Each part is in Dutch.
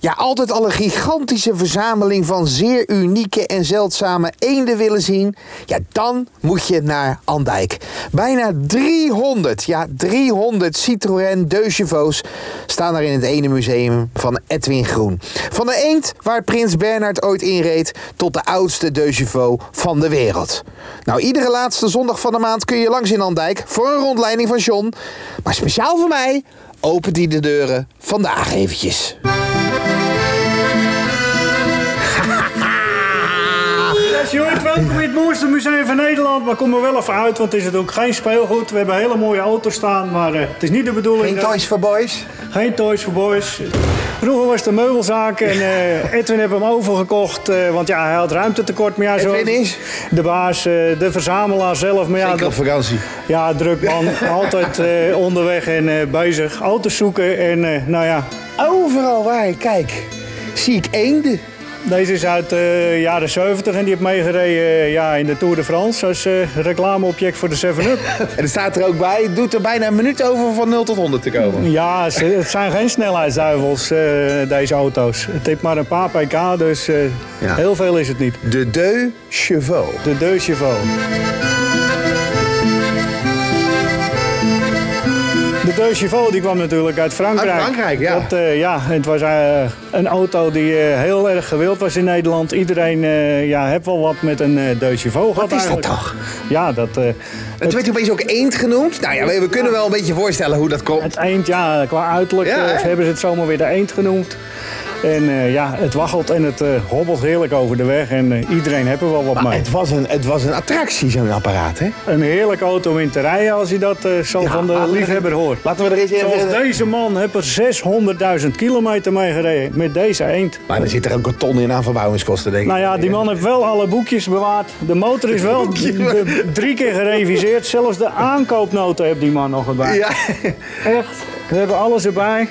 Ja, altijd al een gigantische verzameling van zeer unieke en zeldzame eenden willen zien. Ja, dan moet je naar Andijk. Bijna 300, ja 300 Citroën Deugevo's staan daar in het ene museum van Edwin Groen. Van de eend waar prins Bernhard ooit inreed tot de oudste Deugevo van de wereld. Nou, iedere laatste zondag van de maand kun je langs in Andijk voor een rondleiding van John. Maar speciaal voor mij opent hij de deuren vandaag eventjes. Yes, je hoort welkom bij het mooiste museum van Nederland. Maar kom er wel even uit, want het is het ook geen speelgoed. We hebben hele mooie auto's staan, maar eh, het is niet de bedoeling. Geen eh, Toys for Boys. geen toys voor boys. Vroeger was het een meubelzaak en eh, Edwin heeft hem overgekocht. eh, want ja, hij had ruimtetekort. Maar ja, zo, Edwin is? De baas, eh, de verzamelaar zelf. Maar ja, Zeker op dat- vakantie. ja, druk man. Altijd eh, onderweg en eh, bezig. Auto's zoeken en eh, nou ja, Overal waar ik kijk, zie ik eenden. Deze is uit de jaren 70 en die heeft meegereden eh, ja, in de Tour de France als eh, reclameobject voor de 7-Up. En er staat er ook bij, het doet er bijna een minuut over om van 0 tot 100 te komen. ja, ze- het zijn geen snelheidsduivels, eh, deze auto's. Het heeft maar een paar pk, dus eh, Ja. heel veel is het niet. De Deux Chevaux. De deux chevaux. De deux chevaux die kwam natuurlijk uit Frankrijk. Uit Frankrijk, ja. Dat, eh, ja het was eh, een auto die eh, heel erg gewild was in Nederland. Iedereen eh, ja, heeft wel wat met een eh deux chevaux gehad is dat eigenlijk. toch? Ja, dat, eh, Het werd opeens ook eend genoemd. Nou ja, we, we kunnen wel een beetje voorstellen hoe dat komt. het eend, ja, qua uiterlijk Ja, eh, hè? hebben ze het zomaar weer de eend genoemd. En eh, ja, het waggelt en het eh, hobbelt heerlijk over de weg. En eh, iedereen heeft er wel wat Maar mee. het was een, het was een attractie, zo'n apparaat, hè? Een heerlijke auto om in te rijden als je dat eh, zo van de laten we- liefhebber hoort. Laten we er eens Zoals even... deze man heb er 600.000 kilometer mee gereden met deze eend. Maar er zit er ook een ton in aan verbouwingskosten, denk ik. Nou ja, die man heeft wel alle boekjes bewaard. De motor is wel d- d- drie keer gereviseerd. Zelfs de aankoopnota heeft die man nog erbij. Ja. Echt, we hebben alles erbij.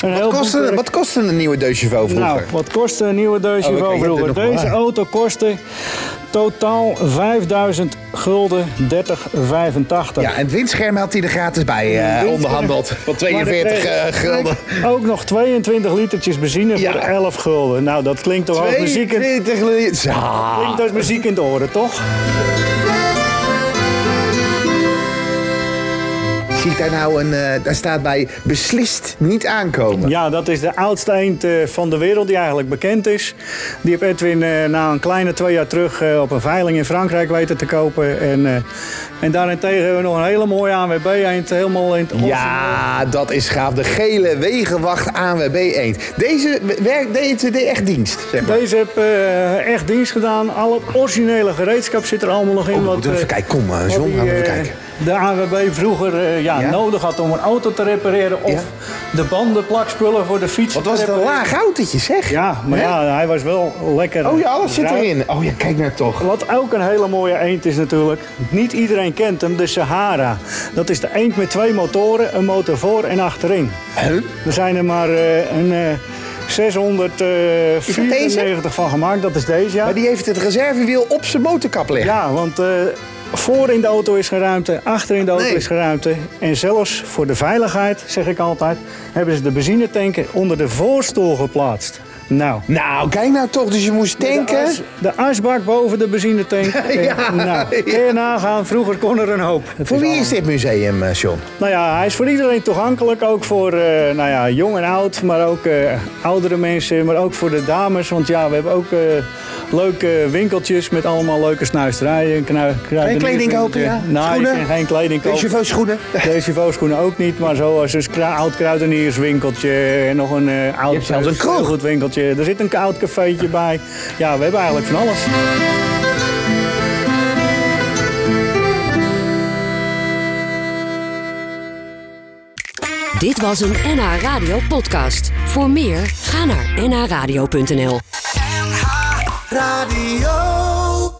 Een heel Wat kostte, boekwerk. wat kostte een nieuwe Deux Chevaux vroeger? Nou, wat kostte een nieuwe Deuce Oh, oké, je hebt vroeger? het nog Deze maar. auto kostte totaal 5000 gulden 3085. Ja, en het windscherm had hij er gratis bij eh, windscherm. onderhandeld. Van 42 Maar eh, dat- gulden. Ook nog 22 litertjes benzine Ja. voor 11 gulden. Nou, dat klinkt toch als muziek in, 42 miljoen. Zo. klinkt als muziek in de oren, toch? Zie ik daar nou een, eh, daar staat bij beslist niet aankomen. Ja, dat is de oudste eend eh, van de wereld die eigenlijk bekend is. Die heeft Edwin eh, na een kleine twee jaar terug eh, op een veiling in Frankrijk weten te kopen. En, eh, en daarentegen hebben we nog een hele mooie AWB-eend. Helemaal in het Ja, dat is gaaf. De gele wegenwacht ANWB eend. Deze werkt deed, deed echt dienst, zeg maar. Deze heb eh, echt dienst gedaan. Al het originele gereedschap zit er allemaal nog in. Oh, we wat, moeten even eh, kijken. Kom, eh, wat John, die, gaan we even eh, kijken. De AWB vroeger eh, ja, Ja? nodig had om een auto te repareren. Of Ja. de banden, plakspullen voor de fiets Wat was het te een repareren. laag autootje, zeg. eh? Ja, maar Hè? ja, hij was wel lekker. Oh ja, alles zit ruim. erin. Oh ja, kijk nou toch. Wat ook een hele mooie eend is natuurlijk. Niet iedereen kent hem, de Sahara. Dat is de eend met twee motoren, een motor voor en achterin. Huh? Er zijn er maar eh, een eh, 694 van gemaakt, dat is deze ja. Maar die heeft het reservewiel op zijn motorkap liggen. Ja, want eh, voor in de auto is geen ruimte, achter in de auto Nee. is geen ruimte. En zelfs voor de veiligheid, zeg ik altijd, hebben ze de benzinetanken onder de voorstoel geplaatst. Nou, Nou, kijk nou toch. Dus je moest tanken. De, as- de asbak boven de benzinetank. Ja, Eh, nou, kun je nagaan, vroeger kon er een hoop. Het Voor is wie allemaal- is dit museum, eh, John? Nou ja, hij is voor iedereen toegankelijk. Ook voor eh, nou ja, jong en oud, maar ook eh, oudere mensen. Maar ook voor de dames. Want ja, we hebben ook eh, leuke winkeltjes met allemaal leuke snuisterijen. Knu- kruideniers- kleding kopen, ja? Nou, Schoenen? je kan geen kleding De kopen. chauffeurs schoenen. Deze schoenen ook niet, maar zoals een skra- oud kruidenierswinkeltje en nog een eh oud hebt zelfs een kroeg. goed winkeltje. Er zit een oud cafeetje bij. Ja, we hebben eigenlijk van alles. Dit was een NH Radio podcast. Voor meer, ga naar nhradio.nl. NH Radio.